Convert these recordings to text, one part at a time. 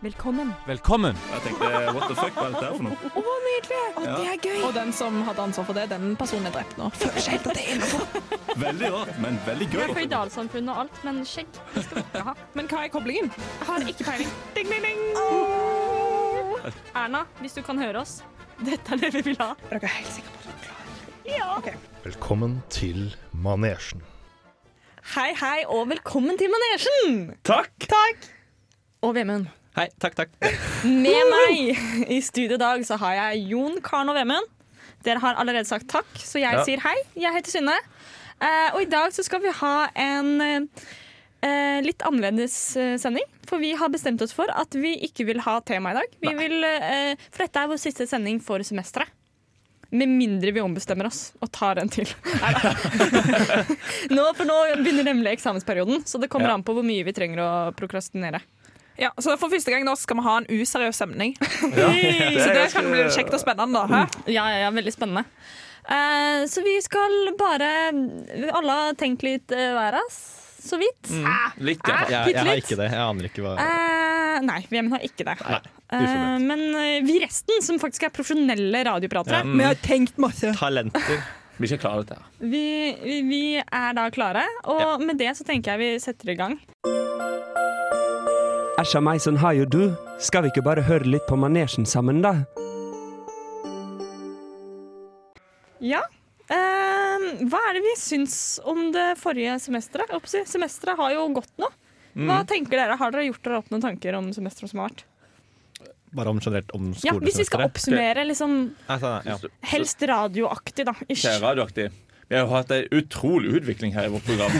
Velkommen. Velkommen! Og Jeg tenkte what the fuck, hva er dette her for noe? Å, nydelig! Å, Ja. Det er gøy. Og den som hadde ansvar for det, den personen er drept nå. Føler seg helt at det er innenfor. Veldig rart, men veldig gøy. Jeg er føydalsamfunnet og alt, men skjegg det skal vi ikke ha. Men hva er koblingen? Jeg har ikke peiling. Ding, ding, ding. Erna, hvis du kan høre oss, dette er det vi vil ha. Er dere helt sikre på at dere er klare? Velkommen til Manesjen. Hei, hei, og velkommen til manesjen! Takk! Og Vemund. Hei. Takk, takk. Med meg i studio i dag så har jeg Jon Karen og Vemund. Dere har allerede sagt takk, så jeg Ja. sier hei. Jeg heter Synne. Eh, og i dag så skal vi ha en eh, litt annerledes eh, sending. For vi har bestemt oss for at vi ikke vil ha tema i dag. Vi vil, eh, for dette er vår siste sending for semesteret. Med mindre vi ombestemmer oss og tar en til. Nei da. nå, for nå begynner nemlig eksamensperioden, så det kommer Ja. an på hvor mye vi trenger å prokrastinere. Ja, så for første gang nå skal vi ha en useriøs stemning. er Så det ganske- kan bli kjekt og spennende. da. Hæ? Ja, ja, ja, veldig spennende. Eh, så vi skal bare Alle har tenkt litt eh, hver av oss, så vidt. Litt, ja. Ah, ja. Mm. Jeg, jeg har litt. ikke det. Jeg aner ikke hva Eh, nei, Vemund har ikke det. Nei, Eh, uforberedt. men eh, vi resten, som faktisk er profesjonelle radiopratere, Vi Mm. har tenkt masse. Talenter. Vi skal klare dette. her. vi, vi, vi er da klare. Og Ja. med det så tenker jeg vi setter i gang. Æsja meg, sånn har jo du. Skal vi ikke bare høre litt på manesjen sammen, da? Ja. Eh, hva er det vi syns om det forrige semesteret? Jeg holdt på å si, Semesteret har jo gått nå. Hva Mm. tenker dere? Har dere gjort dere opp noen tanker om semesteret som har vært? Bare om generelt om Ja, hvis vi skal skolesemesteret. oppsummere liksom Nei, sånn, ja. Helst radioaktig, da. Ish. Kjære radioaktig. Vi har jo hatt en utrolig utvikling her i vårt program.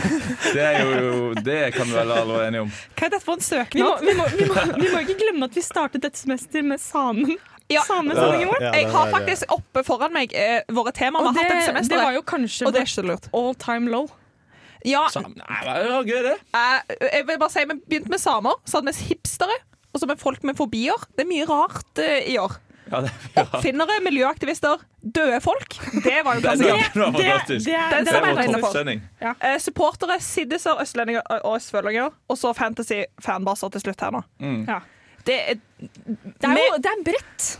Det, er jo, det kan vi vel alle være enige om. Hva er dette for en Vi må, søknad? vi, må, vi, må, vi må ikke glemme at vi startet dette semester med samen. Ja. Samesendingen vår. Ja, eh, det Jeg har var det. faktisk oppe foran meg eh, våre temaer vi Og har det, hatt dette det var semesteret. jo kanskje Og det er ikke så lurt. vårt all time low. Ja, Så, nei, det er jo gøy, det. eh, jeg vil bare si Vi begynte med samer, så hadde vi hipstere, og så med folk med fobier. Det er mye rart eh, i år. Ja, det, Oppfinnere, miljøaktivister, døde folk. Det var jo Den klassiker. gangen var fantastisk. det, Den er- Det som det, er var jeg regner for. toppsending. Eh, supportere, siddiser, østlendinger og østfølinger. Og så fantasy-fanbaser til slutt her nå. Mm. Ja. Det, er- det er jo det er bredt.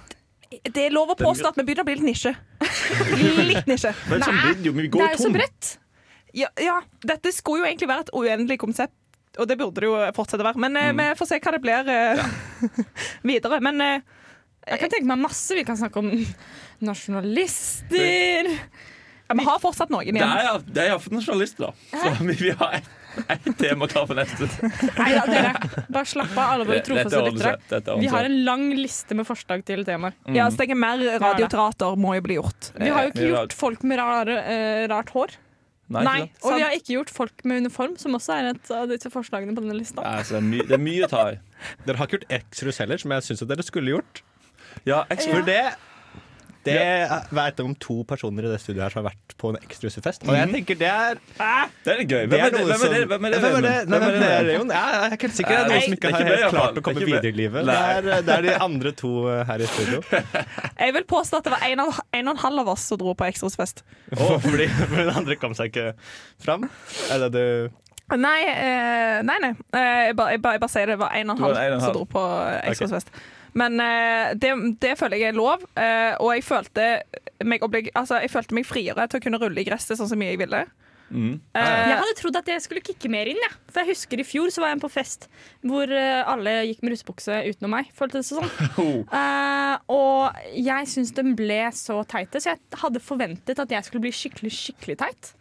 det er lov å påstå at vi begynner å bli litt nisje. Litt nisje. Men sånn blir det jo. Vi Det går er jo så tom. bredt. Ja, ja, dette skulle jo egentlig være et uendelig konsept, og det burde det jo fortsette å være. Men eh, Mm. vi får se hva det blir eh, videre. Men eh, Jeg kan tenke meg masse. Vi kan snakke om nasjonalister. ja, vi har fortsatt noen Det igjen. er, det er iallfall nasjonalister, da. Så vi, vi har ett et tema klar for neste. Nei da, dere. Bare slapp av, alle våre Dette trofaste ordner lyttere. seg. Dette ordner Vi har seg. en lang liste med forslag til temaer. Mm. Ja, så tenker jeg mer radioteater må jo bli gjort. Vi har jo Vi ikke har- gjort folk med rare, eh, rart hår. Nei, Nei. ikke sant? Og Sant. vi har ikke gjort folk med uniform, som også er et av disse forslagene på denne lista. Nei, så det, er mye- det er mye å ta i. Dere har ikke gjort Exrus heller, som jeg syns dere skulle gjort. Ja, ekstra. For det det jeg vet om to personer i det studioet her som har vært på en Extrus-fest. Og jeg tenker det er Det er litt gøy. det Hvem er det? Hvem noe er det? som- Hvem er det? Hvem er det? Nei, Hvem er hvem er det? det, Jon? Jeg jeg er ikke helt sikker. Nei, Det er noen som det er ikke ikke meg, har helt iallfall. klart å Det komme er ikke videre i livet. Det Nei. er, det er de andre to eh, her i studio. Jeg vil påstå at det var en, av, en og en halv av oss som dro på Ekstrasfest. Og fordi for den andre kom seg ikke fram. Er det du Nei, eh, nei, nei. Eh, jeg, bare, jeg, bare, jeg bare sier det var en og en Du var halv, en og en halv. som dro på Ekstrasfest. Men eh, det, det føler jeg er lov, eh, og jeg følte meg, oblig, altså, jeg følte meg friere til å kunne rulle i gresset sånn så mye jeg ville. Eh, Jeg hadde trodd at jeg skulle kikke mer inn, ja. for jeg husker i fjor så var jeg på fest hvor eh, alle gikk med russebukse utenom meg, føltes det sånn. Oh. Eh, og jeg syns de ble så teite, så jeg hadde forventet at jeg skulle bli skikkelig, skikkelig teit.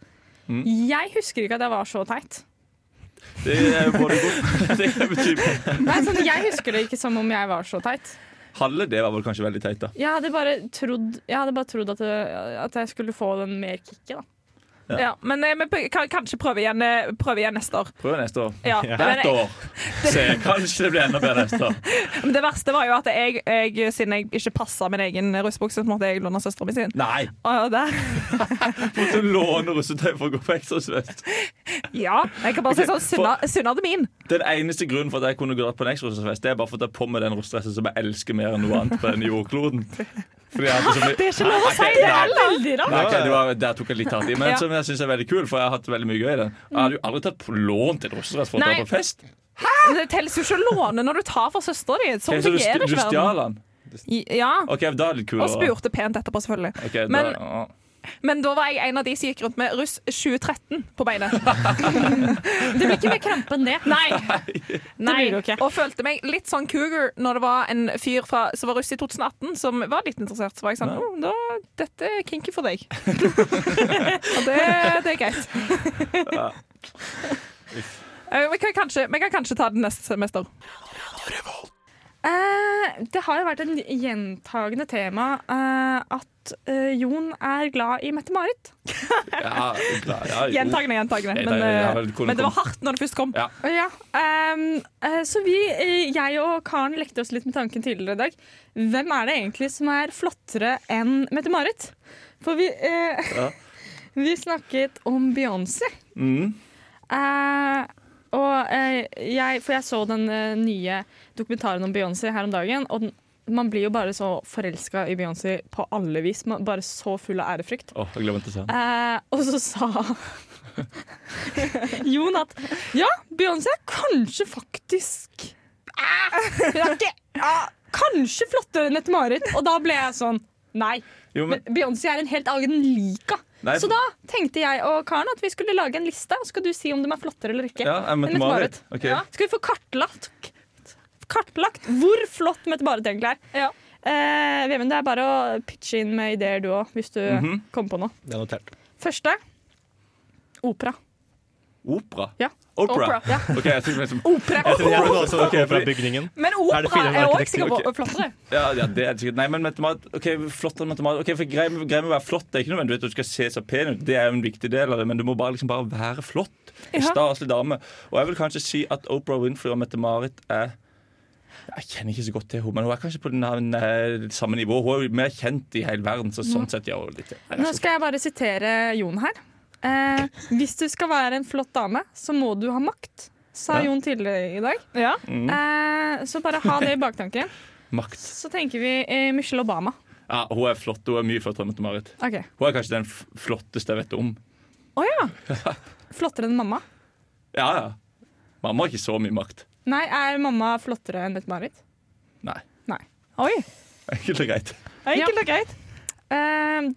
Mm. Jeg husker ikke at jeg var så teit. Det er både godt Det kan bety Nei, sånn, jeg husker det ikke som om jeg var så teit. Halve det var vel kanskje veldig teit, da. Jeg hadde bare trodd, jeg hadde bare trodd at, det- at jeg skulle få den mer kicket, da. ja. men eh, vi bør- kan kanskje prøve igjen, eh, prøve igjen neste år. Prøv neste år. Ja. Men, eh, Hvert jeg, år. Se, kanskje det blir enda bedre neste år. men det verste var jo at jeg, jeg siden jeg ikke passa min egen russebukse, så måtte jeg låne søstera mi sin. Nei! Og der, Måtte låne russetøy for å gå på ekstrasfest. ja, jeg kan bare si sånn Sunna Sunna hadde min. Den eneste grunnen for at jeg kunne dratt på en ekstrasfest, det er bare for å ta på meg den russedressen som jeg elsker mer enn noe annet på denne jordkloden. Fordi jeg hadde så mye- Det er ikke lov å si det Nei, heller! Veldig rart. Nei, ok, det var, der tok jeg litt hardt i, men Ja. som jeg syns er veldig kul, for jeg har hatt veldig mye gøy i den. Jeg hadde jo aldri tatt på lån til drosjedress for å Nei. sånn dra på fest. Det telles jo ikke å låne når du tar fra søstera di. Ok, Sånn så du, fungerer st- du ikke stjal verden. den? Ja. OK, da er det litt kulere. Og spurte pent etterpå, selvfølgelig. Ok, da- Men- ja. Men da var jeg en av de som gikk rundt med russ 2013 på beinet. Det blir ikke mer krampe enn det. Nei. blir det jo ikke. Og følte meg litt sånn cougar når det var en fyr fra, som var russ i 2018 som var litt interessert. Så var jeg sånn oh, da, Dette er kinky for deg. Og det, det er greit. Eh, Vi kan, kanskje, vi kan kanskje ta det neste semester. Eh, det har jo vært en gjentagende tema eh, at eh, Jon er glad i Mette-Marit. Ja, glad- ja, jo. Gjentagende, gjentagende. Jeg Men, tar- jeg har eh, vel kunnet men det var hardt når det først kom. Ja. Å ja. ehm, eh, så vi, eh, jeg og Karen lekte oss litt med tanken tidligere i dag. Hvem er det egentlig som er flottere enn Mette-Marit? For vi, eh, Ja. vi snakket om Beyoncé. Mm. Eh, og eh, jeg, for jeg så den eh, nye dokumentaren om Beyoncé her om dagen. Og den, man blir jo bare så forelska i Beyoncé på alle vis. Man, bare så full av ærefrykt. Åh, jeg glemte å se den. Eh, og så sa Jon at ja, Beyoncé er kanskje faktisk eh, Hun er ikke ja, Kanskje flottere enn Mette-Marit. Og da ble jeg sånn Nei. Jo, men Men Beyoncé er en helt egen lika. Nei, så da tenkte jeg og Karen at vi skulle lage en liste, og så skal du si om de er flottere eller ikke. Ja, jeg møtte Enn Marit. Ok. Ja. Skal vi få kartlagt, kartlagt hvor flott Mette-Marit egentlig er. Ja. Eh, Vemund, det er bare å pitche inn med ideer du òg, hvis du kommer på noe. Det er notert. Første opera. Opera? Ja. Opera. Opera. Ok, jeg tenkte liksom Opera. Jeg tror også operabygningen. Men Er det opera finere er òg arkitektur? sikkert Ok. flottere. Ja, ja, det er det sikkert Nei, men matematikk Ok, flott enn matematikk Ok, for greier med greier med å være flott Det er ikke nødvendigvis at du skal se så pen ut Det er jo en viktig del av det Men du må bare liksom bare være flott En Ja. staselig dame Og jeg vil kanskje si at Oprah Winfrey og Mette-Marit er Jeg kjenner ikke så godt til henne Men hun er kanskje på den, her- den her samme nivå Hun er jo mer kjent i hele verden Så sånn sett, ja, og litt Nei, Mm. Nå altså, skal jeg bare sitere Jon her. Eh, hvis du skal være en flott dame, så må du ha makt, sa Ja. Mm. Jon tidligere i dag. Ja. Eh, så bare ha det i baktanken. Makt Så tenker vi eh, Michelle Obama. Ja, hun er flott Hun er mye flottere enn Mette-Marit Ok, Hun er kanskje den f- flotteste jeg vet om Å ja! Flottere enn mamma? Ja, ja Mamma har ikke så mye makt Nei, er mamma flottere enn Mette-Marit? Nei, Oi. ikke så greit Enkelt og greit. Eh,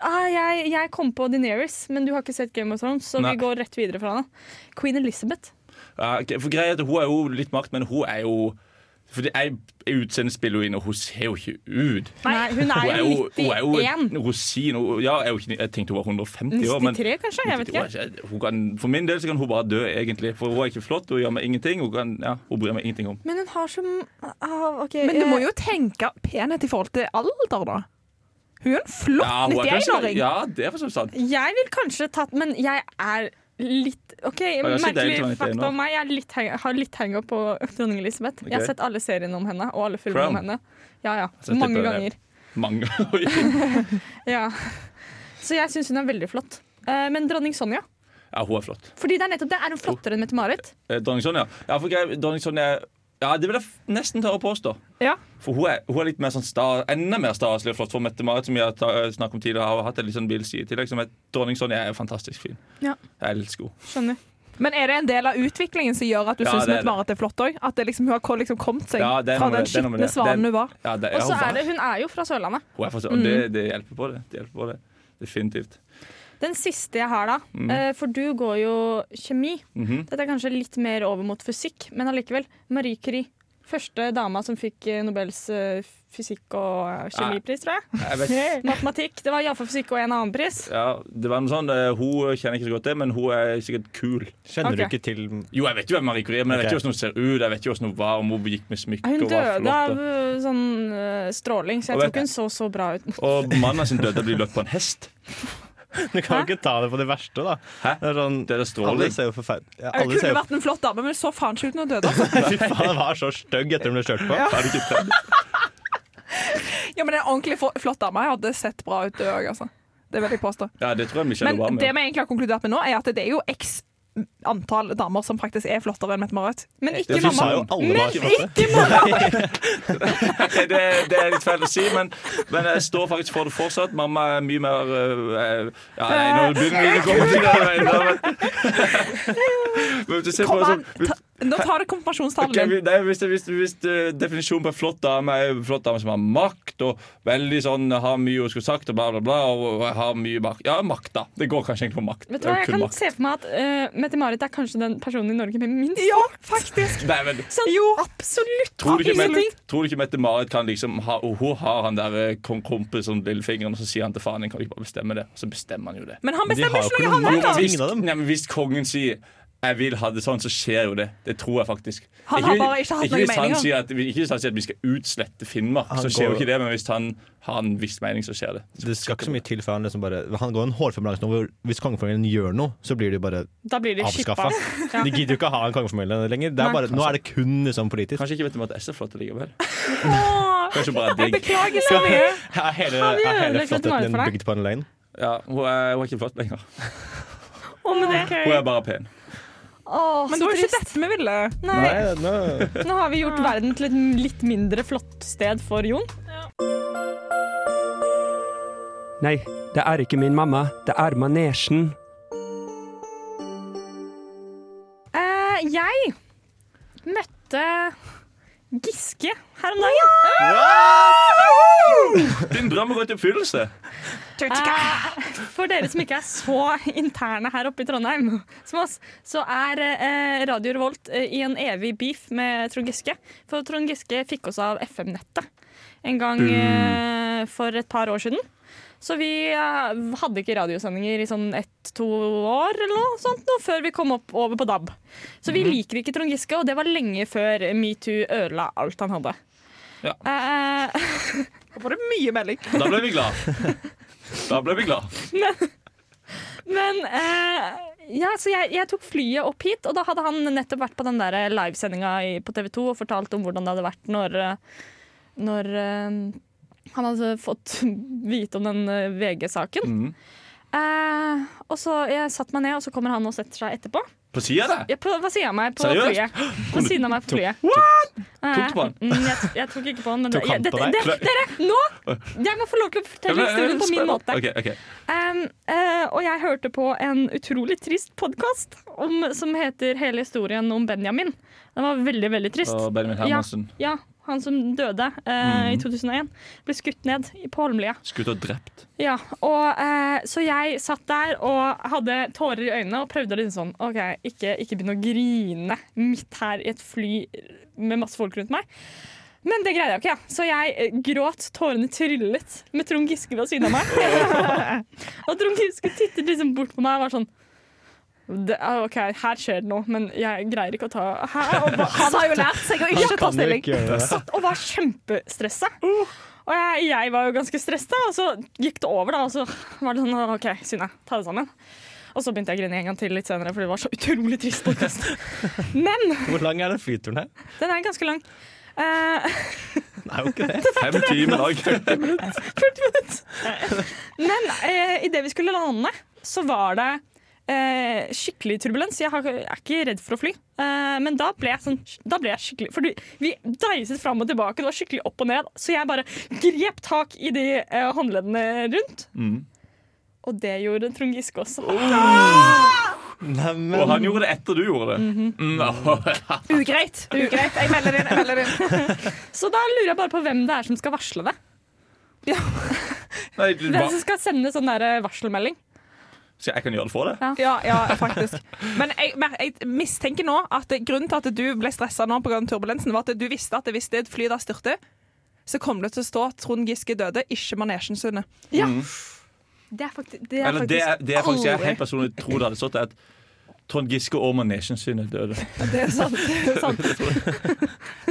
ah, jeg, jeg kom på Deneris, men du har ikke sett Game of Thrones, så Nei. vi går rett videre fra henne. Queen Elizabeth. Ja, ok, for greia er at Hun er jo litt makt, men hun er jo Fordi jeg jeg utseendet spiller jo inn, og hun ser jo ikke ut. Nei, hun Hun er jo hun er jo 91. en rosin. Hun, ja, jeg, er jo ikke, jeg tenkte hun var 150 år, men 93, kanskje? Jeg vet ikke. Hun er ikke- hun kan, for min del så kan hun bare dø, egentlig. For hun er ikke flott, hun gjør meg ingenting. Hun, kan, ja, hun bryr meg ingenting om. Men hun har så ah, ok, Men du eh, må jo tenke penhet i forhold til alder, da. Hun er Ja, en flott hun er kanskje, 91-åring. ja det er for så vidt sant. Jeg vil kanskje tatt Men jeg er litt OK, er så deilig som merkelig jeg er fakta nå. om meg. Jeg er litt hang, har litt hang-up på dronning Elisabeth. Jeg har Ok. sett alle seriene om henne og alle filmene Crown. om henne. Ja, ja. Så jeg Mange tipper ganger. det. Mange ja, Ja. Så jeg syns hun er veldig flott. Eh, Men dronning Sonja hun er flott. Fordi det er nettopp det. Oh. Er hun flottere enn Mette-Marit? Eh, Dronning Sonja. Ja, for greia, dronning Sonja ja, det vil jeg f- nesten tørre å påstå. Ja. For hun er, hun er litt mer sånn sta, enda mer staselig og flott. For Mette-Marit, som jeg har ta- eh, snakket om tidligere, har hatt en litt sånn vill side til. Liksom, dronning Sonja er jo fantastisk fin. Ja. Jeg elsker henne. Skjønner. Men er det en del av utviklingen som gjør at du Ja, syns det er Mette Marit er flott òg? At det liksom, hun har ko- liksom kommet seg Ja, det er fra noe med den det, det er noe med skitne det. svanen Det- hun var? Ja, det, Og ja, så hun, er det Mhm. Hun er jo fra Sørlandet. hun er faktisk- og det, det hjelper på det. Det hjelper på det. Definitivt. Den siste jeg har, da. Mm. eh, For du går jo kjemi. Mhm. Dette er kanskje litt mer over mot fysikk, men allikevel. Marie Curie. Første dama som fikk eh, Nobels eh, fysikk- og eh, kjemipris, tror jeg. Jeg vet, Matematikk. Det var iallfall fysikk og en annen pris. ja, det var noe sånn, eh, hun kjenner ikke så godt det, men hun er sikkert kul. Kjenner Ok. du ikke til Jo, jeg vet jo hvem Marie Curie er, men jeg vet Ok. ikke hvordan hun ser ut. Jeg vet ikke hvordan Hun var, om hun gikk med smykker Hun og var døde av flott. og- eh, sånn eh, stråling, så jeg Og tror vet- ikke hun så så bra ut. Og mannen sin døde av å bli løpt på en hest. Du kan jo ikke ta det på det verste, da. Hæ? Det er sånn, Det er det alle stråling. ser jo forferdelig ja, Hun Alle ser kunne jo vært en flott dame, men hun så faen ikke ut når hun døde. altså. Fy faen, den var så stygg etter den ble kjørt på. Er det ikke det? Ja, men en ordentlig fo- flott dame hadde sett bra ut, det òg, altså. Det vil jeg påstå. Ja, det tror jeg Michelle Men Obama det gjør. vi egentlig har konkludert med nå, er at det er jo eks antall damer som faktisk er flottere enn Mette Marit. Men ikke Ja, du sa mamma. jo alle var flotte. Ikke mamma! Ok, det, det er litt feil å si, men, men jeg står faktisk for det fortsatt. Mamma er mye mer øh, øh, Ja, nei, nå begynner vi å komme til det. men- men- Men hvis du ser på Kom det an, sånn- ta, nå tar du konfirmasjonstalen Ok, din. vi- nei, hvis, hvis, hvis eh, definisjonen på en flott dame er en flott dame som har makt og veldig sånn har mye hun skulle sagt og bla, bla, bla, og, og har mye makt Ja, makt, da. Det går kanskje egentlig på makt. Vet du hva, Det er Jeg kun kan makt. se for meg at eh, Mette-Marit er kanskje den personen i Norge med minst Ja, faktisk. Nei, men, sånn, absolutt tror, du ikke absolutt. Mette, tror du ikke Mette-Marit kan liksom ha og Hun har han der eh, kom- kompisen med lillefingeren, og så sier han til faren din kan du ikke bare bestemme det? Og så bestemmer han jo det. Men han Men de bestemmer har ikke jo noe, ikke han noe- heller. tvinge dem. Nei, men hvis kongen sier 'jeg vil ha det sånn', så skjer jo det. Det tror jeg faktisk. Han har bare ikke hatt noen hvis han meninger. sier at, Ikke hvis han sier at vi skal utslette Finnmark, Han så skjer jo går- ikke det. Men hvis han har en viss mening, så skjer det. Det skal ikke så mye til før han liksom bare Han går en hårfamilianse nå hvor hvis kongefamilien gjør noe, så blir de bare Da blir de avskaffa. skippa. De gidder jo ikke å ha en kongefamilie lenger. Det er bare, nå er det kun liksom politisk. Kanskje ikke vet om at S er flott likevel. Åh, Kanskje bare Jeg digg. beklager så mye. Er hele, Han gjør er hele det for at det var flottheten din for deg. bygd på en løgn? Ja, hun, er, hun er ikke flott lenger. Å, men det- Hun er bare pen. Å, Men så det var jo ikke trist. dette vi ville. Nei, nå Nå har vi gjort verden til et litt mindre flott sted for Jon. Nei, det er ikke min mamma. Det er manesjen. Eh, jeg møtte Giske her om dagen. Din drøm har gått i oppfyllelse. Ah. Eh, for dere som ikke er så interne her oppe i Trondheim som oss, så er eh, Radio Revolt eh, i en evig beef med Trond Giske. For Trond Giske fikk oss av FM-nettet en gang eh, for et par år siden. Så vi eh, hadde ikke radiosendinger i sånn ett-to år eller noe sånt nå, før vi kom opp over på DAB. Så vi liker ikke Trond Giske, og det var lenge før metoo ødela alt han hadde. Ja. Eh, Nå får du mye melding. Da ble vi glad. Da ble vi glad. Men eh, ja, så jeg, jeg tok flyet opp hit, og da hadde han nettopp vært på den der livesendinga i- på TV 2 og fortalt om hvordan det hadde vært når, eh, når eh, han hadde fått vite om den eh, VG-saken. Mhm. Eh, og så Jeg satte meg ned, og så kommer han og setter seg etterpå. På sida der. Ja, på, ved siden av meg på Seriøst? flyet. På siden av meg på flyet. tok du på han? Eh, mm, jeg, jeg tok ikke på han, men Tok han det- på deg? det- det- Dere, nå! Jeg må få lov til å fortelle historien på min måte. eh, Ok, ok. Um, eh, og jeg hørte på en utrolig trist podkast som heter Hele historien om Benjamin. Den var veldig, veldig trist. Og Benjamin Ja. Hermansen. Mhm. Ja, han som døde eh, i 2001. Ble skutt ned i- på Holmlia. Skutt og drept. Ja, og, eh, så jeg satt der og hadde tårer i øynene og prøvde å liksom sånn OK, ikke, ikke begynne å grine midt her i et fly med masse folk rundt meg. Men det greide jeg ikke, ja. så jeg eh, gråt, tårene trillet med Trond Giske ved siden av meg. og Trond Giske tittet liksom bort på meg og var sånn det, ah, OK, her skjer det noe, men jeg greier ikke å ta Hæ? Og ba- Han har jo lært seg å ikke ta jo stilling. ikke gjøre det. satt og var kjempestressa. Og jeg, jeg var jo ganske stressa, og så gikk det over, da. Og så var det sånn OK, Synne, ta det sammen. Og så begynte jeg å grine en gang til litt senere, for det var så utrolig trist podkast. Men Hvor lang er den flyturen her? den er ganske lang. Eh, Det er jo ikke det. Fem timer i dag. men uh, idet vi skulle lande, så var det eh, skikkelig turbulens. Jeg har, er ikke redd for å fly, Eh, men da ble jeg, sånn, da ble jeg skikkelig For du- vi dreiset fram og tilbake, det var skikkelig opp og ned. Så jeg bare grep tak i de eh, håndleddene rundt. Mhm. Og det gjorde Trond Giske også. Neimen Og han gjorde det etter du gjorde det. Mhm. Mm, ja. Ugreit. Ugreit. Jeg melder inn. Jeg melder inn. Så da lurer jeg bare på hvem det er som skal varsle det. Nei, du, Hvem hva? som skal sende sånn der eh, varselmelding. Så jeg kan gjøre det for deg? Ja, ja, faktisk. Men jeg, mer- jeg mistenker nå at det- grunnen til at du ble stressa nå pga. turbulensen, var at du visste at hvis det flyet der styrter, så kommer det til å stå Trond Giske døde, ikke Manesjen Sunde. Det er faktisk, det Eller det, er- det er faktisk jeg helt personlig tror det hadde stått, er at Trond Giske og manesjen sin er døde. Det er sant. Det er sant.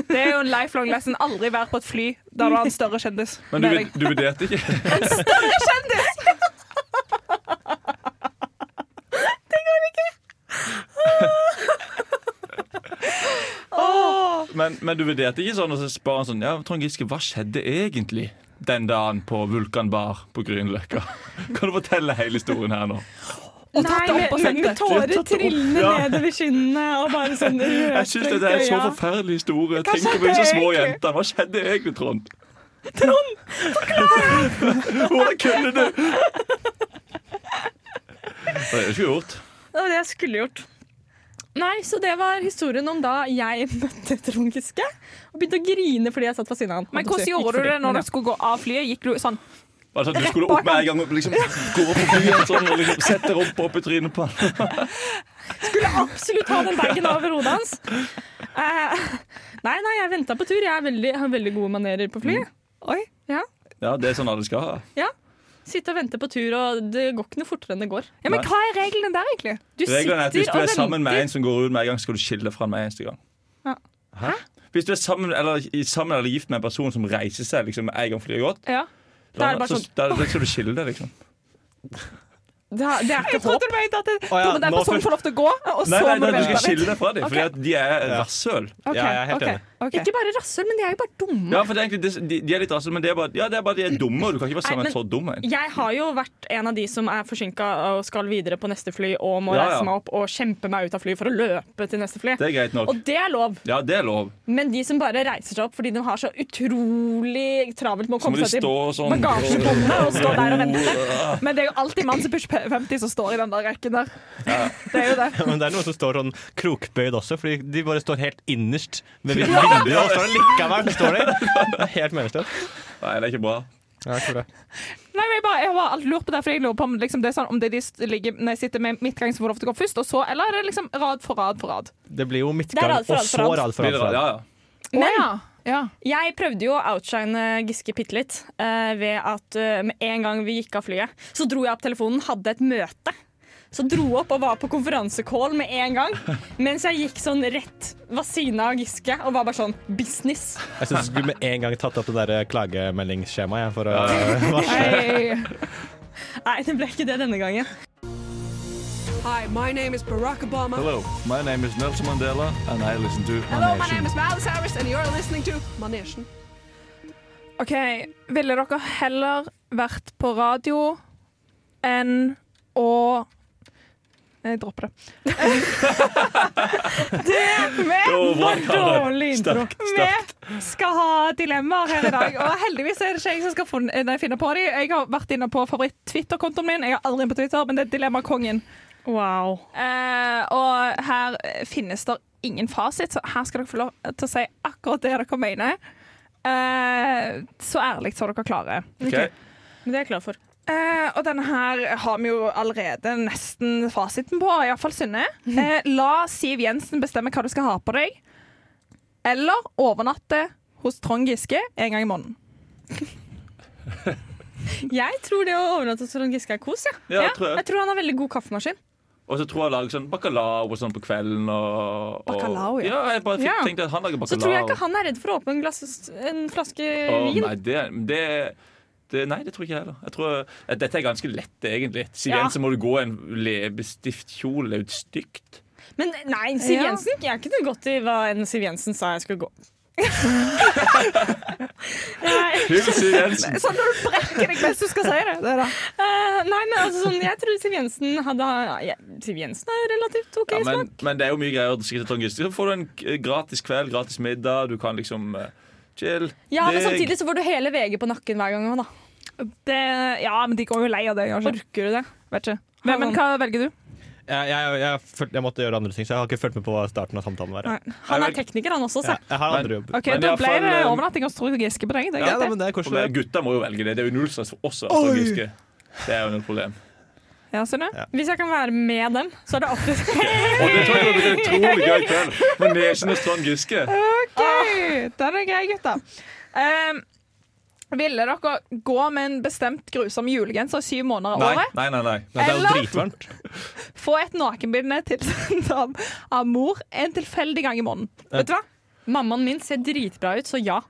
Det er jo en lifelong lesson. Aldri vær på et fly der du har en større kjendis. Men du, med vur- deg. du vurderte ikke? Men, men du vurderte ikke sånn, og så spør han sånn Ja, Trond Giske, hva skjedde egentlig den dagen på Vulkan Bar på Grünerløkka? Kan du fortelle hele historien her nå? Og tatt det Nei, opp og med, sendt med det. Du tårer har tatt det opp. trillende Ja. nedover kinnene og bare sånn Jeg syns det er en så forferdelig historie. Tenk på disse små jentene. Hva skjedde egentlig, Trond? Trond, forklar! Hvordan kunne du? Det er ikke gjort. Det var det jeg skulle gjort. Nei, så det var historien om da jeg møtte Trond Giske og begynte å grine fordi jeg satt ved siden av han. Men hvordan gjorde du det når du skulle gå av flyet? Gikk du sånn Bare sånn at du skulle opp med en gang og liksom gå forbi en sånn og liksom sette rumpa opp i trynet på han. Skulle absolutt ha den bagen over hodet hans. Eh, nei, nei, jeg venta på tur. Jeg er veldig, har veldig gode manerer på Mm. fly. Oi. Ja. Ja, det er sånn alle skal ha. Sitte og vente på tur, og det går ikke noe fortere enn det går. Ja, men hva er reglene der, egentlig? Du Reglene er at Hvis du er sammen med venter. en som går ut med en gang, skal du skille fra med eneste gang. Ja. Hæ? Hvis du er sammen eller, i- sammen eller gift med en person som reiser seg liksom, en gang fordi det har gått, Ja. da, er det bare så, sånn- da, da skal du skille deg. Liksom. Det, er- det er ikke håp. Jeg trodde du mente at Å ja, den nå personen først- får lov til å gå, Nei, og så nei, må nei, du du skal vente litt. skille deg fra dem, fordi at de er rasshøl. Ok, Ja, jeg er helt ok, enig. ok. Ikke bare rasshøl, men de er jo bare dumme. Ja, for det er egentlig, det- de, de er litt rasshøl, men det er bare, ja, det er bare de er dumme, og du kan ikke være Nei, sammen med en så dum en. Jeg har jo vært en av de som er forsinka og skal videre på neste fly og må Ja, ja. reise meg opp og kjempe meg ut av fly for å løpe til neste fly. Det er greit nok. Og det er lov, Ja, det er lov. men de som bare reiser seg opp fordi de har så utrolig travelt med å Så må komme de seg stå til sånn. bagasjebåndet og stå der og vente. Men det er jo alltid mann som pusher P- 50 som står i den der rekken der. Det er jo det. Men det er noen som står sånn krokbøyd også, fordi de bare står helt innerst ved vinduet, og så er det likevel som står der. Det er helt meningsløst. Nei, det er ikke bra. Ja, jeg tror det. Nei, men jeg, bare, jeg har alltid lurt på det, for jeg lurer på om, liksom, det er sånn, om det er de st- ligger, når jeg sitter med midtgang som får lov til å gå først, og så, eller er det liksom rad for rad for rad? Det blir jo Det midtgang, er rad for og rad for så rad. rad for Blir det rad. bra? for Ja, ja. rad. Men, Men ja. ja. jeg prøvde jo å outshine Giske bitte litt eh, ved at eh, med en gang vi gikk av flyet, så dro jeg opp telefonen, hadde et møte. Så dro jeg opp og var på konferansecall med en gang. Mens jeg gikk sånn rett ved siden av Giske og var bare sånn business. Jeg syns du skulle med en gang tatt opp det der eh, klagemeldingsskjemaet. jeg, For å varsle. Hey. Nei, det ble ikke det denne gangen. Hi, my name is Barack Obama. Hello, my name is Nelson Mandela, and I listen to Hello, my name is Miles Harris, and you're listening to Manesjen. OK. Ville dere heller vært på radio enn å Jeg dropper det. Dårlig intro. Vi skal ha dilemmaer her i dag, og heldigvis er det ikke jeg som skal funne, nei, finne på dem. Jeg har vært inne på favoritt-Twitter-kontoen min. Jeg er aldri inne på Twitter, men det er Dilemmakongen. Wow. Eh, og her eh, finnes det ingen fasit, så her skal dere få lov til å si akkurat det dere mener. Eh, så ærlig som dere klarer. Men det er jeg klar for. Eh, og denne her har vi jo allerede nesten fasiten på, iallfall Synne. Mhm. Eh, la Siv Jensen bestemme hva du skal ha på deg, eller overnatte hos Trond Giske en gang i måneden. Jeg tror det å overnatte hos Trond Giske er kos. Ja. Ja, tror jeg. jeg tror han har veldig god kaffemaskin. Og så tror jeg jeg lager sånn bacalao og sånn på kvelden. Og, og, Bacalao, ja. ja. jeg bare fikk, Ja. tenkte at han lager Så bacalao. tror jeg ikke han er redd for å åpne en, glass, en flaske Å, vin. nei, det, det, det, nei, det tror ikke jeg heller. Jeg tror, eh, dette er ganske lett, egentlig. Siv Ja. Jensen må du gå i en leppestiftkjole. Det er jo stygt. Men nei, Siv Ja. Jensen Jeg kunne gått i hva enn Siv Jensen sa jeg skulle gå. nei, Hun Siv Jensen. Sånn når du brekker deg mens du skal si det. det er det. eh, nei, men altså sånn Jeg tror Siv Jensen hadde ja, jeg- Siv Jensen er relativt OK Ja, smak. men, men det er jo mye greier å drikke til Trond Giske. Så får du en eh, gratis kveld, gratis middag. Du kan liksom eh, chill. Ja, men Digg. samtidig så får du hele VG på nakken hver gang. Da. det. Ja, men de går jo lei av det. Kanskje. Orker du det? Vet ikke. Men, men hva velger du? Jeg, jeg, jeg, følte- jeg måtte gjøre andre ting, så jeg har ikke fulgt med på hva starten av samtalen var. jeg. Han Nei, er vel- tekniker, han også. Så. Ja, jeg har andre jobber. Ok, Men i Da hvert ble fall, det eh, overnatting hos Trond Giske på deg. Det er greit, Ja, nei, det. men det er Og koselig. men Gutta må jo velge det. Det er jo null stress for oss. altså, Trond Giske. Det er jo noe problem. Ja, Synne? Hvis jeg kan være med dem, så er det alltid sånn, Og det tror jeg blir en utrolig gøy kveld. Med Nesjen og Trond Giske. OK, den er grei, gutta. Ehm, ville dere gå med en bestemt grusom julegenser i syv måneder av Nei, året? nei, nei. nei. Nei, det er jo Eller- dritvarmt. Få et nakenbilde tilsendt av, av mor en tilfeldig gang i måneden. Vet du hva? Mammaen min ser dritbra ut, så ja.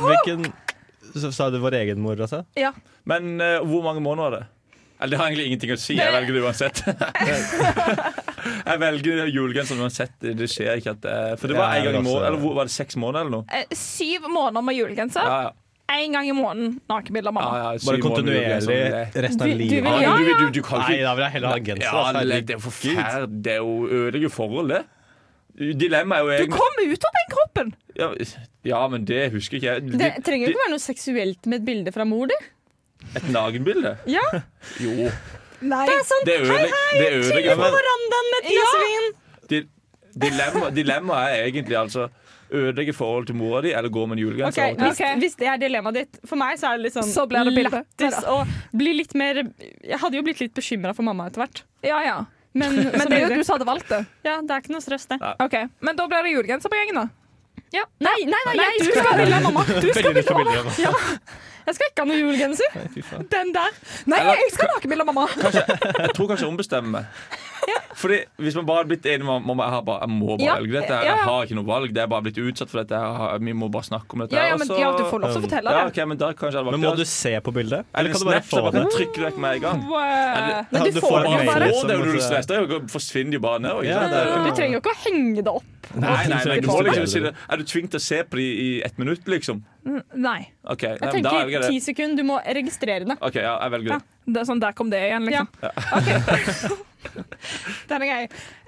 Hvilken så, Sa du vår egen mor, altså? Ja. Men eh, hvor mange måneder er det? Eller det har egentlig ingenting å si. Jeg velger det uansett. jeg velger julegenser uansett. Det skjer ikke at det For det var Ja, en gang i men altså- måneden. Eller hvor- var det seks måneder eller noe? Eh, syv måneder med julegenser. Ja, ja. én gang i måneden nakenbilde av Ja, mamma. ja, Bare syv måneder, kontinuerlig liksom. Det- resten av Du- du livet. vil- Ja, Ja, du, du, du, du kan Nei, ikke da vil jeg heller ha genser. ja, altså. det, det er jo forferdelig. Det er jo ødelegger forholdet. Dilemmaet er jo Du egentlig kom ut av den kroppen! ja, ja, men det husker ikke jeg. Det Di- trenger jo di- ikke være noe seksuelt med et bilde fra mor, du. Et nakenbilde? Ja. Jo. Nei. Det er sånn, Det ødelegger det ødelegger på for- verandaen med et glass vin. di- dilemma- Dilemmaet er egentlig altså ødelegge forholdet til mora di, eller gå med en julegenser. Ok, over til- hvis, hvis det er dilemmaet ditt For meg så er det litt sånn Så blir det bilde. lættis og bli litt mer Jeg hadde jo blitt litt bekymra for mamma etter hvert. Ja, ja. Men, Men det er jo du som hadde valgt det. Ja, det er ikke noe stress, det. Ok, Men da blir det julegenser på gjengen, da. Ja. Nei, nei, nei, Nei, jeg, du skal, skal ville ha mamma. Du skal Veldig ville likt ha mamma. familie. jeg skal ikke ha noe julegenser. Nei, fy faen. Den der. Nei, Eller- jeg skal nakenbilde av mamma. Jeg tror kanskje hun bestemmer meg. Fordi Hvis man bare hadde blitt enig om om jeg, har bare, jeg må bare Ja, velge dette, her, ja, ja. jeg har ikke noe valg, det er bare blitt utsatt for dette, jeg har, vi må bare snakke om dette. Ja, her, ja, og men, så- ja, du får lov til å fortelle ja, det. ok, men da kanskje jeg hadde Men må valgt det. du se på bildet? Eller Eller kan du bare få det? bare trykker du vekk med en gang. Wow. Ja, Men du du får får det en jo Bare mail. bare. få det når du stresser, og forsvinner jo bare nedover. ikke Ja, sant? det er- Du trenger jo ikke å henge det opp. Nei, nei, nei, du Nei, må det liksom er det. si det. Er du tvunget til å se på de i ett minutt, liksom? Nei. OK, nei, Jeg men da velger tenker jeg ti det. sekunder, du må registrere det. Ok, ja, jeg velger det. Det er sånn, der kom det igjen, liksom. Ok. Den er grei.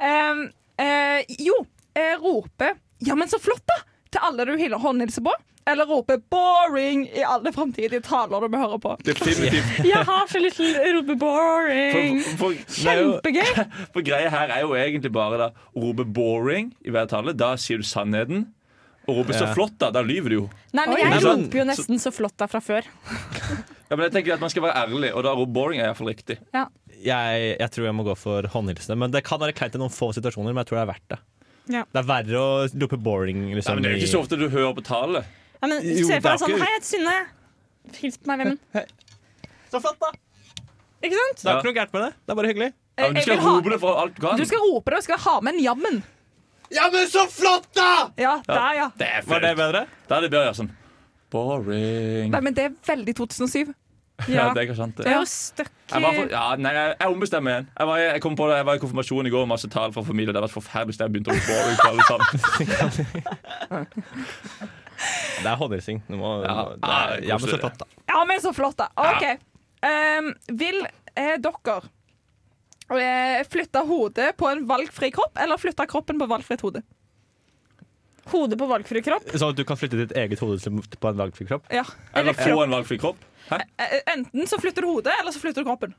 Ehm, eh, jo, eh, rope 'ja, men så flott', da! til alle du hyller håndhilser på. Eller rope 'boring' i alle framtidige taler du må høre på. Definitivt. Jeg har så lyst til å rope 'boring'. For, for, for, Kjempegøy. For greia her er jo egentlig bare da, å rope 'boring' i hver tale. Da sier du sannheten. Og rope 'så Ja. flott', da. Da lyver du jo. Nei, men Oi. jeg Nei, men- roper jo nesten så flott der fra før. Ja, men jeg tenker at Man skal være ærlig, og da rope 'boring' er iallfall riktig. Jeg, jeg tror jeg må gå for håndhilsene. Men Det kan være kleint i noen få situasjoner, men jeg tror det er verdt det. Ja. Det er verre å rope boring. Nei, Liksom, men Det er jo ikke så ofte du hører på tale. Ja, men Jo, Se det for er deg sånn ikke- Hei, jeg heter Synne. Hils på meg, Vemund. så flott, da! Ikke sant? Det er ikke noe gærent med det. Det er bare hyggelig. Ja, men du Jeg skal vil ha- rope det for alt du kan. Du skal rope det, og skal ha med en jammen. Ja, men så flott, da! Ja, der, ja. Det er Var flaut. det bedre? Da er det bedre å gjøre sånn. Boring. Nei, men det er veldig 2007. Ja, det er ikke sant. det. Det er jo støkk Jeg, var for, ja, nei, jeg, jeg ombestemmer igjen. Jeg var, i- jeg, kom på det, jeg var i konfirmasjon i går med masse tall fra familie. Det hadde vært forferdelig hvis jeg begynte å rope 'boring' på alle sammen. Det er håndhilsing. Du må, Ja. det Ah, er, det er ja, men koselig, så flott, da. Ja, men så flott, da. OK. Ehm, vil eh, dere eh, flytte hodet på en valgfri kropp, eller flytte kroppen på valgfritt hode? Hodet på valgfri kropp. Sånn at du kan flytte ditt eget hode til- på en valgfri kropp. Ja. Eller få en valgfri kropp. Eh, Enten så flytter du hodet, eller så flytter du kroppen.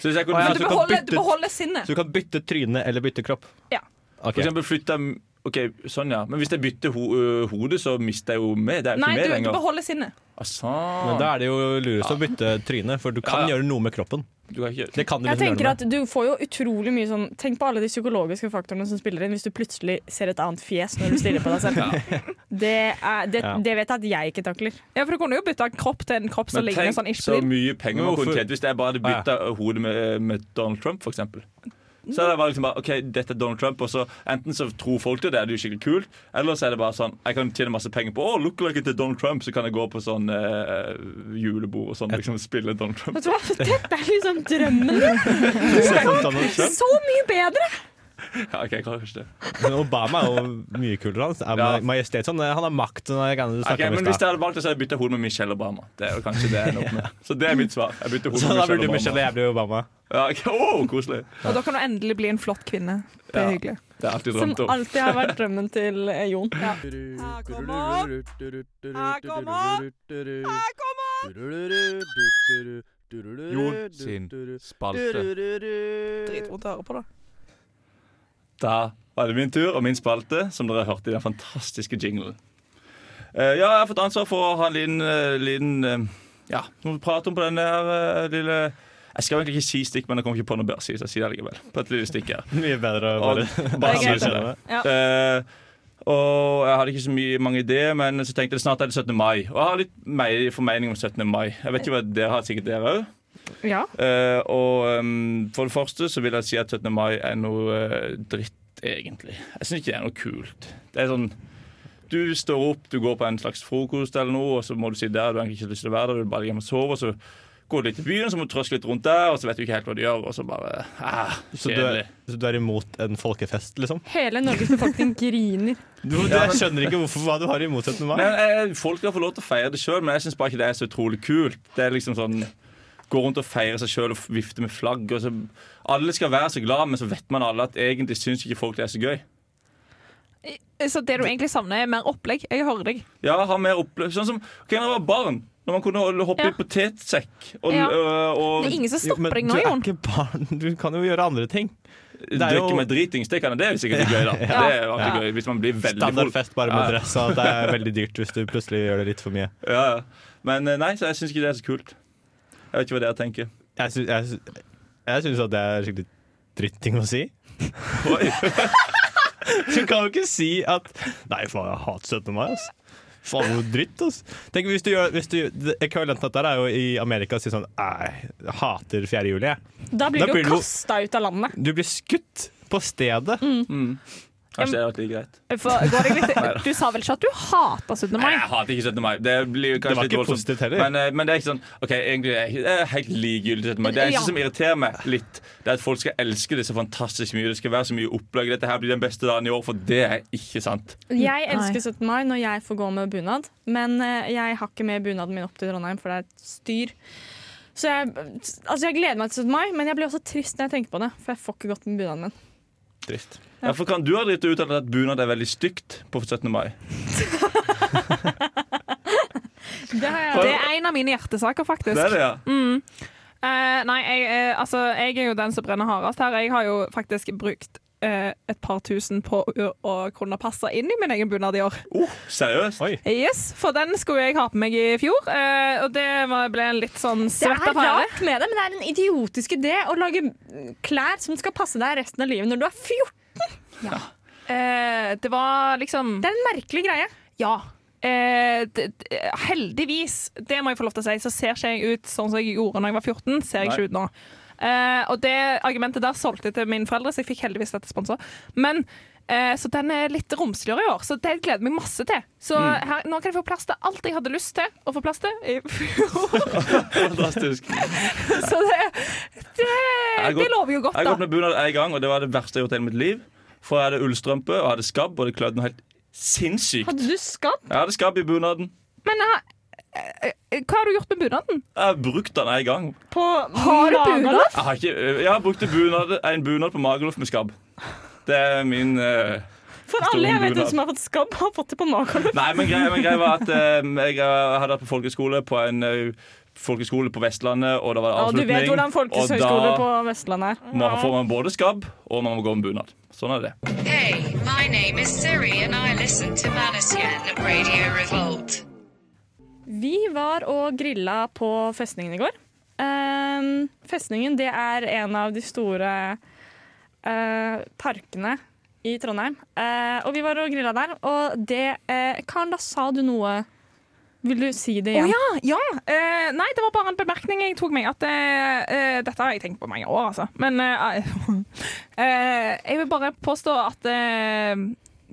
Så hvis jeg kunne Å, ja, Men flytte du du kan beholder, bytte du ut- beholder sinnet. Så du kan bytte tryne eller bytte kropp. Ja. Ok. For eksempel flytter jeg- Ok, sånn ja Men hvis jeg bytter ho ø, hodet så mister jeg jo med Det er jo ikke Nei, med du, du lenger beholder sinnet. altså, Men da er det jo lurest å bytte tryne, for du kan Ja, ja. gjøre noe med kroppen. Du kan ikke Det kan du Jeg liksom gjøre tenker noe med. at du får jo utrolig mye sånn Tenk på alle de psykologiske faktorene som spiller inn hvis du plutselig ser et annet fjes når du stirrer på deg selv. det, er, det, Ja. det vet jeg at jeg ikke takler. Ja, for du kunne jo bytte kropp til en kropp som Men ligner tenk sånn ish så blid. mye penger man kunne Hvorfor- tjent Hvis jeg bare hadde Ah, ja. byttet hodet med, med Donald Trump for eksempel Så er det bare liksom bare Ok, dette er Donald Trump Og så enten så tror folk det Det er jo skikkelig kult Eller så er det bare sånn Jeg kan tjene masse penger på Å, look like til Donald Trump Så kan jeg gå på sånn eh, julebord Og sånn liksom spille Donald Trump Vet du hva? Dette er liksom drømmen din! Sånn Så mye bedre! Ja, ok, jeg klarer ikke det Men Obama er jo mye kulere. Han er Ja. ma- majestet sånn. Han har makt. og det greiene du Ok, snakket om i men hvis stad. jeg hadde valgt det, så hadde jeg byttet hodet med Michelle Obama. Det er jo kanskje det jeg ender opp med. Så det er mitt svar. Jeg bytter hodet Så med Sånn, da Michelle burde Obama. Michelle og jeg bli Obama. Ja, ok. Åh, koselig. Og da kan du endelig bli en flott kvinne. Det er Ja. hyggelig. Det er alltid Som drømt om. alltid har vært drømmen til eh, Jon. Her kommer Her kommer Her kommer Jon sin spalte. Dritvondt å høre på, da. Da var det min tur og min spalte, som dere hørte i den fantastiske jinglen. Eh, ja, jeg har fått ansvar for å ha en liten, eh, liten eh, Ja, noe å prate om på den der eh, lille Jeg skal egentlig ikke si stikk, men jeg kommer ikke på noe bedre å si, så jeg sier det likevel. På et lille stikk her. Mye bedre å Og, bare bare Ja, si det. det. Eh, og jeg hadde ikke så mye, mange ideer, men så tenkte jeg snart er det 17. mai. Og jeg har litt mer formening om 17. mai. Jeg vet ikke hva dere har, sikkert dere òg. Ja. og ehm, for det første så vil jeg si at 17. mai er noe eh, dritt, egentlig. Jeg syns ikke det er noe kult. Det er sånn Du står opp, du går på en slags frokost eller noe, og så må du sitte der. Du har egentlig ikke lyst til å være der, du vil bare hjem og sove. Og så gå litt til byen, så må du trøske litt rundt der, og så vet du ikke helt hva du gjør, og så bare ah, Så du, er, kjedelig. så du er imot en folkefest, liksom? Hele Norges befolkning griner. Du, jeg skjønner ikke hvorfor, hva du har imot til meg. Men eh, Folk skal få lov til å feire det sjøl, men jeg syns bare ikke det er så utrolig kult. Det er liksom sånn Gå rundt og feire seg sjøl og vifte med flagg. Og så, alle skal være så glad, men så vet man alle at egentlig syns ikke folk det er så gøy. Så det du egentlig savner, er mer opplegg. Jeg hører deg. Ja, ha mer oppløp Sånn som ok, når jeg var barn, når man kunne holde- hoppe Ja. i potetsekk og, Ja. øh, Det og, er ingen som Jo, men stopper deg du nå, er Jon. ikke barn. Du kan jo gjøre andre ting. er drikke jo- med dritings. Det kan det er jo sikkert gøy, da. Ja. Det er jo alltid gøy hvis man blir veldig full. Standardfest bare med Ja. dress, og det er veldig dyrt hvis du plutselig gjør det litt for mye. Ja, ja. Men eh, nei, så jeg syns ikke det er så kult. Jeg vet ikke hva dere tenker. Jeg sy- jeg sy- jeg syns at det er skikkelig dritting å si. Oi. Du kan jo ikke si at Nei, faen, jeg hater 17. mai, ass. Faen, hvor dritt, ass. Tenk hvis du gjør hvis du, det Ekvivalenten av dette er jo i Amerika å si sånn Nei, jeg hater 4. juli, jeg. Da blir Da du blir jo du- kasta ut av landet. Du blir skutt på stedet. Mm. Kanskje det hadde vært like greit. For, går deg litt, du sa vel ikke at du hater 17. Nei, mai? jeg hater ikke 17. mai. Det blir jo Det kanskje var litt ikke voldsomt. positivt heller. Men, eh, men det er ikke sånn OK, egentlig er jeg ikke- det er helt likegyldig 17. mai. Det eneste Ja. som irriterer meg litt, det er at folk skal elske det så fantastisk mye. Det skal være så mye opplegg. Dette her blir den beste dagen i år, for det er ikke sant. Jeg elsker 17. mai når jeg får gå med bunad, men eh, jeg har ikke med bunaden min opp til Trondheim, for det er et styr. Så jeg, altså jeg gleder meg til 17. mai, men jeg blir også trist når jeg tenker på det. For jeg får ikke gått med bunaden min. Trist. Ja, for kan du ha dritt og uttalt at bunad er veldig stygt på 17. mai? Det har jeg Det er en av mine hjertesaker, faktisk. Det er det, ja. Eh, nei, jeg, eh, altså, jeg er jo den som brenner hardest her. Jeg har jo faktisk brukt eh, et par tusen på å, å kunne passe inn i min egen bunad i år. Oh, seriøst? Oi. Yes, For den skulle jeg ha på meg i fjor, eh, og det var- ble en litt sånn svett affære. rart med det, men det er en idiotisk idé å lage klær som skal passe deg resten av livet når du er 14. Eh, det var liksom Det er en merkelig greie. Ja. Eh, d- d- heldigvis, det må jeg få lov til å si, så ser ikke jeg ut sånn som jeg gjorde da jeg var 14. Ser jeg Nei. ikke ut nå. Eh, og det argumentet der solgte jeg til mine foreldre, så jeg fikk heldigvis dette sponsa. Men eh, så den er litt romsligere i år, så det gleder jeg meg masse til. Så her, nå kan jeg få plass til alt jeg hadde lyst til å få plass til i fjor. Fantastisk. Jeg så det, det, har gått- det lover jo godt, har gått da. med bunad en gang, og det var det verste jeg har gjort i hele mitt liv. For jeg hadde ullstrømpe, og jeg hadde skabb, og det klødde noe helt sinnssykt. Hadde du skabb? Jeg hadde skabb i bunaden. Men eh, eh, hva har du gjort med bunaden? Jeg har brukt den en gang. Har du bunad? Jeg har, ikke, eh, jeg har brukt en bunad, en bunad på Magaluf med skabb. Det er min eh, For Stor alle jeg vet bunad. om som har fått skabb, har fått det på magen. Nei, men greia, men greia var at eh, jeg eh, hadde vært på folkeskole på en eh, folkeskole på Vestlandet, og det var Og du avslutning. vet hvordan folkehøyskole og på Vestlandet er. da må, får man både skabb, og man må gå med bunad. Sånn er det. Hey, my name is Siri and I listen to Manasian at Radio Revolt. Vi var og grilla på festningen i går. Ehm, festningen det er en av de store eh, parkene i Trondheim. Eh, og vi var og grilla der, og det eh, Karen, da sa du noe. Vil du si det Å igjen? ja, ja. Eh, nei, det var bare en bemerkning jeg tok meg. At eh, eh, dette har jeg tenkt på mange år, altså. Men eh, eh, jeg vil bare påstå at eh,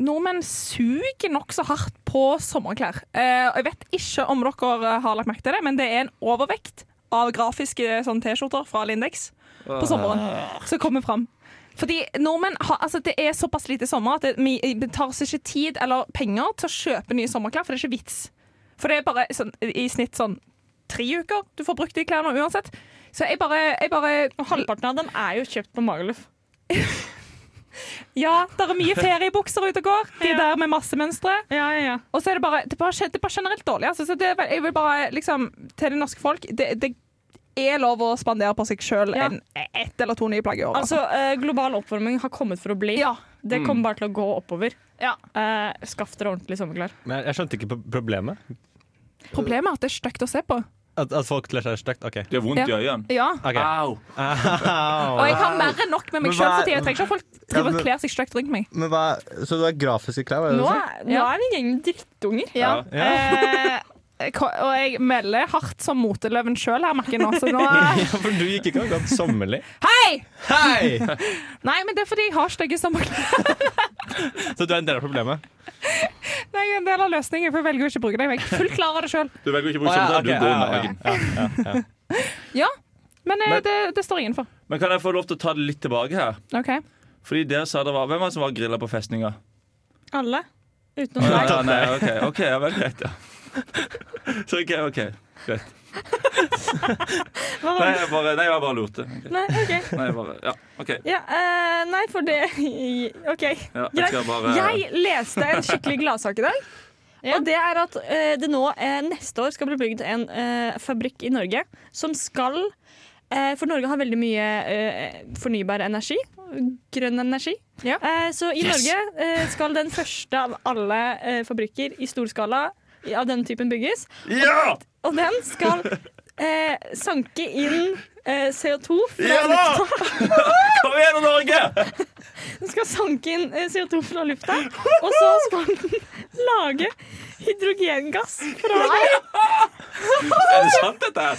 nordmenn suger nokså hardt på sommerklær. Eh, og jeg vet ikke om dere har lagt merke til det, men det er en overvekt av grafiske sånn, T-skjorter fra Lindex på sommeren som kommer fram. Fordi nordmenn har, altså Det er såpass lite sommer at det, vi det tar seg ikke tid eller penger til å kjøpe nye sommerklær, for det er ikke vits. For det er bare sånn, i snitt sånn tre uker du får brukt de klærne uansett. Så jeg bare, jeg bare Halvparten av dem er jo kjøpt på Magaluf. Ja, det er mye feriebukser ute og går. De der med masse mønstre. Ja, ja, ja. Og så er det bare, det er bare, det er bare generelt dårlig. Altså, så det, er vel- jeg vil bare liksom Til det norske folk Det, det er lov å spandere på seg sjøl Ja. ett eller to nye plagg i året. Altså, eh, global oppvarming har kommet for å bli. ja. Det kommer bare til å gå oppover. Ja. Eh, skaff dere ordentlig sommerklær. Men jeg, jeg skjønte ikke pro- problemet. Problemet er at det er stygt å se på. At, at folk kler seg stygt. OK. Det gjør vondt i øynene. Ja. Ok. Au! Og jeg har mer enn nok med meg Men sjøl hva er- for tida. Jeg trenger ikke at folk Ja, driver men- og kler seg stygt rundt meg. Men hva, så du har grafiske klær? Hva er det Nå du sa? er, nå er vi en gjeng med drittunger. Ja. Eh, ko- og jeg melder hardt som moteløven sjøl her, merker jeg nå. Så nå Ja, for du gikk ikke akkurat sommerlig. Hei! Hei! Nei, men det er fordi jeg har stygge sommerklær. Så du er en del av problemet? Det er en del av Liksom, løsningen, for jeg velger å ikke bruke dem. Jeg er fullt klar over det sjøl. Du velger ikke å bruke sånn, du går med. ja, ja, ja. Ja, men, eh, Men- det, det står innenfor. Men kan jeg få lov til å ta det litt tilbake her? OK. Fordi dere sa det var Hvem var det som var grilla på festninga? Alle. Å, Utenom ja, deg. ja, nei, OK, ok, ja vel, greit, ja. Så OK, OK. Greit. Nei, jeg bare, nei, jeg bare lurte. Ok. Nei, ok. Nei, jeg bare, ja, OK. Ja, eh, nei, for det OK. Ja, jeg Greit. skal bare Jeg leste en skikkelig gladsak i dag. Og det er at eh, det nå eh, neste år skal bli bygd en eh, fabrikk i Norge som skal eh, For Norge har veldig mye eh, fornybar energi. Grønn energi. Ja. Eh, så i Norge eh, skal den første av alle eh, fabrikker i stor skala i- av den typen bygges. Ja! Og den skal eh, sanke inn eh, CO2 fra Ja da! lufta. Kom igjen, Norge! Den skal sanke inn eh, CO2 fra lufta, og så skal den lage hydrogengass fra det. Er det sant, dette her?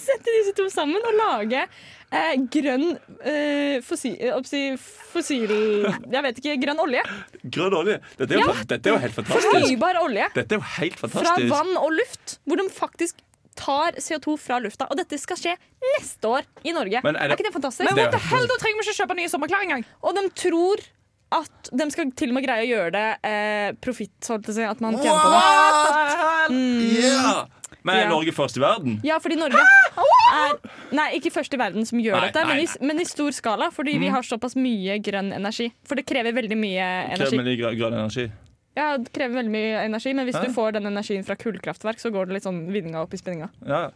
Sette disse to sammen og lage eh, grønn eh, fossil, eh, oppsi- fossil Jeg vet ikke. Grønn olje. Grønn olje. Dette er jo, fa- dette er jo helt fantastisk. Fornybar olje Dette er jo helt fra fantastisk. vann og luft, hvor de faktisk tar CO2 fra lufta. Og dette skal skje neste år i Norge. Men er er, det- ikke det fantastisk? Men Det er- What the hell, Da trenger vi ikke kjøpe nye sommerklær engang! Og de tror at de skal til og med greie å gjøre det eh, profitt, holdt jeg på å si. At man tjener på det. Ja! Men er Mm. Ja. Norge først i verden? Ja, fordi Norge er Nei, ikke først i verden som gjør Nei, dette, nei, men, Mm. i, men i stor skala. Fordi vi har såpass mye grønn energi. For det krever veldig mye energi. Kremlig grø- grønn energi. Ja, det krever veldig mye energi, Men hvis Ja. du får den energien fra kullkraftverk, så går det litt sånn vinninga opp i spinninga. Ja.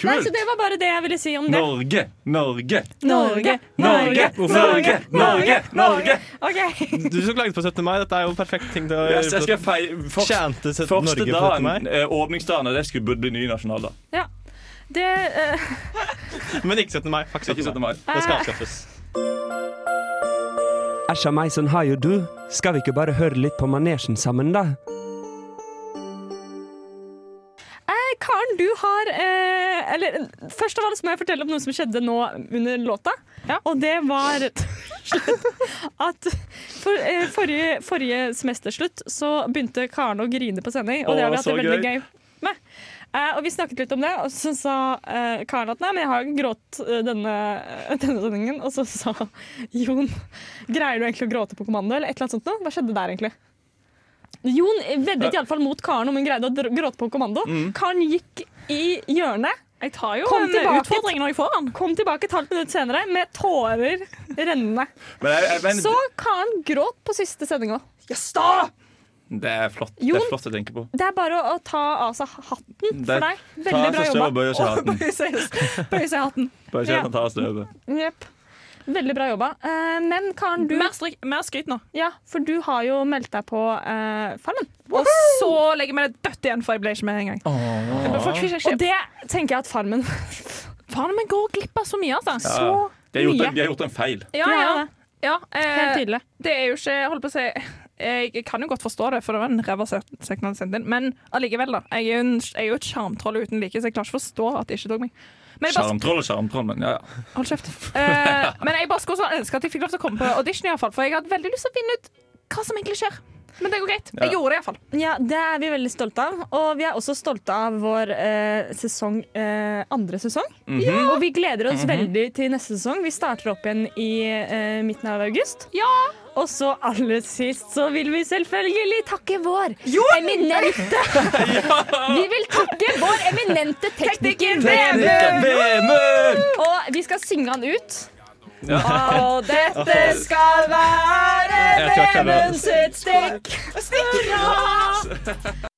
Nei, Kult! så det var bare det jeg ville si om det. Norge, Norge, Norge, Norge, Norge, Norge! Norge! OK. Du som klagde på 17. mai, dette er jo perfekt ting til å Yes, jeg skal feire første, Tjente sett første Norge på 17. mai. dagen, eh, åpningsdagen, og det skulle burde bli ny nasjonaldag. Det eh, Men ikke 17. mai. Fuck 17. Ikke 17. mai. mai. Det skal avskaffes. Æsja meg, sånn har jo du. Skal vi ikke bare høre litt på manesjen sammen, da? Karen, du har eh, Eller først av alt så må jeg fortelle om noe som skjedde nå under låta. Og det var rett og slett at for, eh, forrige, forrige semesterslutt så begynte Karen å grine på sending, og det har vi Åh, hatt det så veldig gøy med. Eh, og vi snakket litt om det, og så sa eh, Karen at nei, men jeg har grått eh, denne, denne sendingen. Og så sa Jon greier du egentlig å gråte på kommando, eller et eller annet sånt noe? Hva skjedde der egentlig? Jon veddet iallfall mot Karen om hun greide å dr- gråte på kommando. Mm. Karen gikk i hjørnet, Jeg tar jo Kom en tilbake. utfordring når jeg får den. kom tilbake et halvt minutt senere med tårer rennende. Men, jeg, jeg, Så mener, Karen gråt på siste sending òg. det er flott. Det Jon- er flott å tenke på. Det er bare å, å ta av seg hatten Det- for deg. Ta Veldig bra seg støv og jobba. bøy oss i hatten. Bøye seg bøye seg i hatten. Bare Ja. kjenne ta oss støvet. Jep. Veldig bra jobba. Eh, men Karen, du, Mer, stryk, mer skryt nå. ja, for du har jo meldt deg på eh, Farmen. Og så legger vi det dødt igjen, for jeg ble ikke med engang. Og det tenker jeg at Farmen Faen, vi går glipp av så mye, altså. Så Ja. De har gjort, mye. en- de har gjort en feil. Ja, ja. ja Helt eh, tydelig. det er jo ikke jeg holdt på å si, Jeg kan jo godt forstå det, for det var en ræva se- søknad sendt inn. Men allikevel, da. Jeg er jo, en, jeg er jo et sjarmtroll uten like, så jeg klarer ikke å forstå at de ikke tok meg. Men jeg bare, Sjarmtroll og sjarmtroll, men ja, ja. hold kjeft. Eh, men jeg bare skulle også ønske at jeg fikk lov til å komme på audition, i hvert fall, for jeg hadde veldig lyst til å finne ut hva som egentlig skjer. Men det går greit. Jeg Ja. gjorde det iallfall. Ja, det er vi veldig stolte av. Og vi er også stolte av vår eh, sesong, eh, andre sesong. Og vi gleder oss veldig til neste sesong. Vi starter opp igjen i eh, midten av august. Og så aller sist så vil vi selvfølgelig takke vår eminente Vi vil takke vår eminente tekniker Vemund! Vemund! Og vi skal synge han ut. Og dette skal være Jeg tror jeg klarer det. Vemunds stikk!